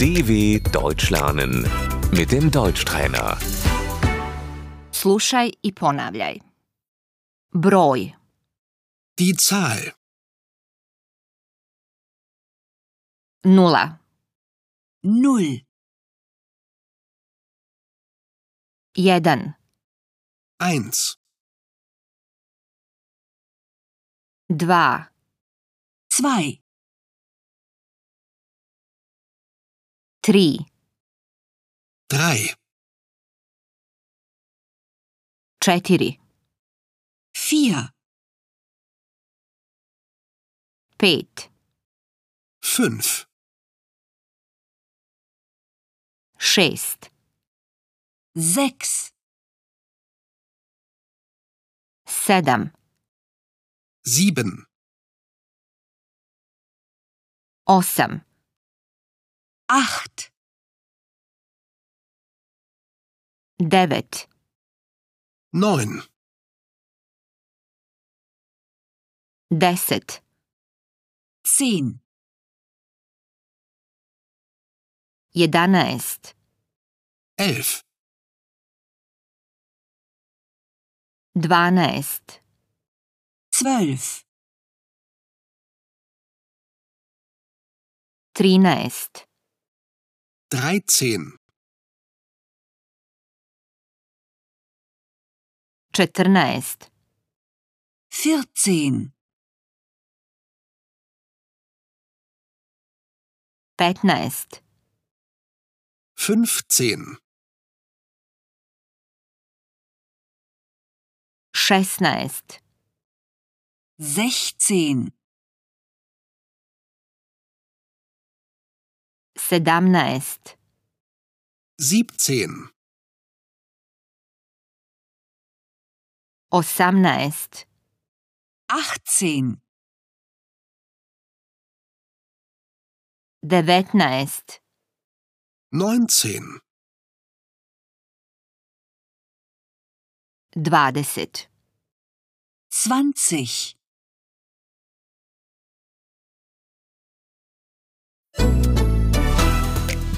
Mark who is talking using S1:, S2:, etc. S1: DW Deutsch lernen mit dem Deutschtrainer.
S2: Slušaj i ponavljaj. Broj,
S3: Die Zahl.
S2: nula,
S4: Null,
S2: jedan,
S3: 1,
S2: dva,
S4: zwei,
S2: tri,
S3: 3,
S2: četiri,
S4: vier,
S2: pet,
S3: 5,
S2: šest,
S4: sechs,
S2: sedam,
S3: 7,
S2: osam,
S4: acht,
S2: devet,
S3: 9,
S2: deset,
S4: zehn,
S2: jedanaest,
S3: 11,
S2: dvanaest,
S4: zwölf,
S2: trinaest,
S3: 13,
S2: četrnaest,
S4: vierzehn,
S2: petnaest,
S3: 15,
S2: šesnaest,
S4: sechzehn,
S2: sedamnaest,
S3: 17,
S2: osamnaest,
S4: achtzehn,
S2: devetnaest,
S3: 19,
S2: dvadeset,
S4: zwanzig.